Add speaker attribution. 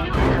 Speaker 1: Thank you.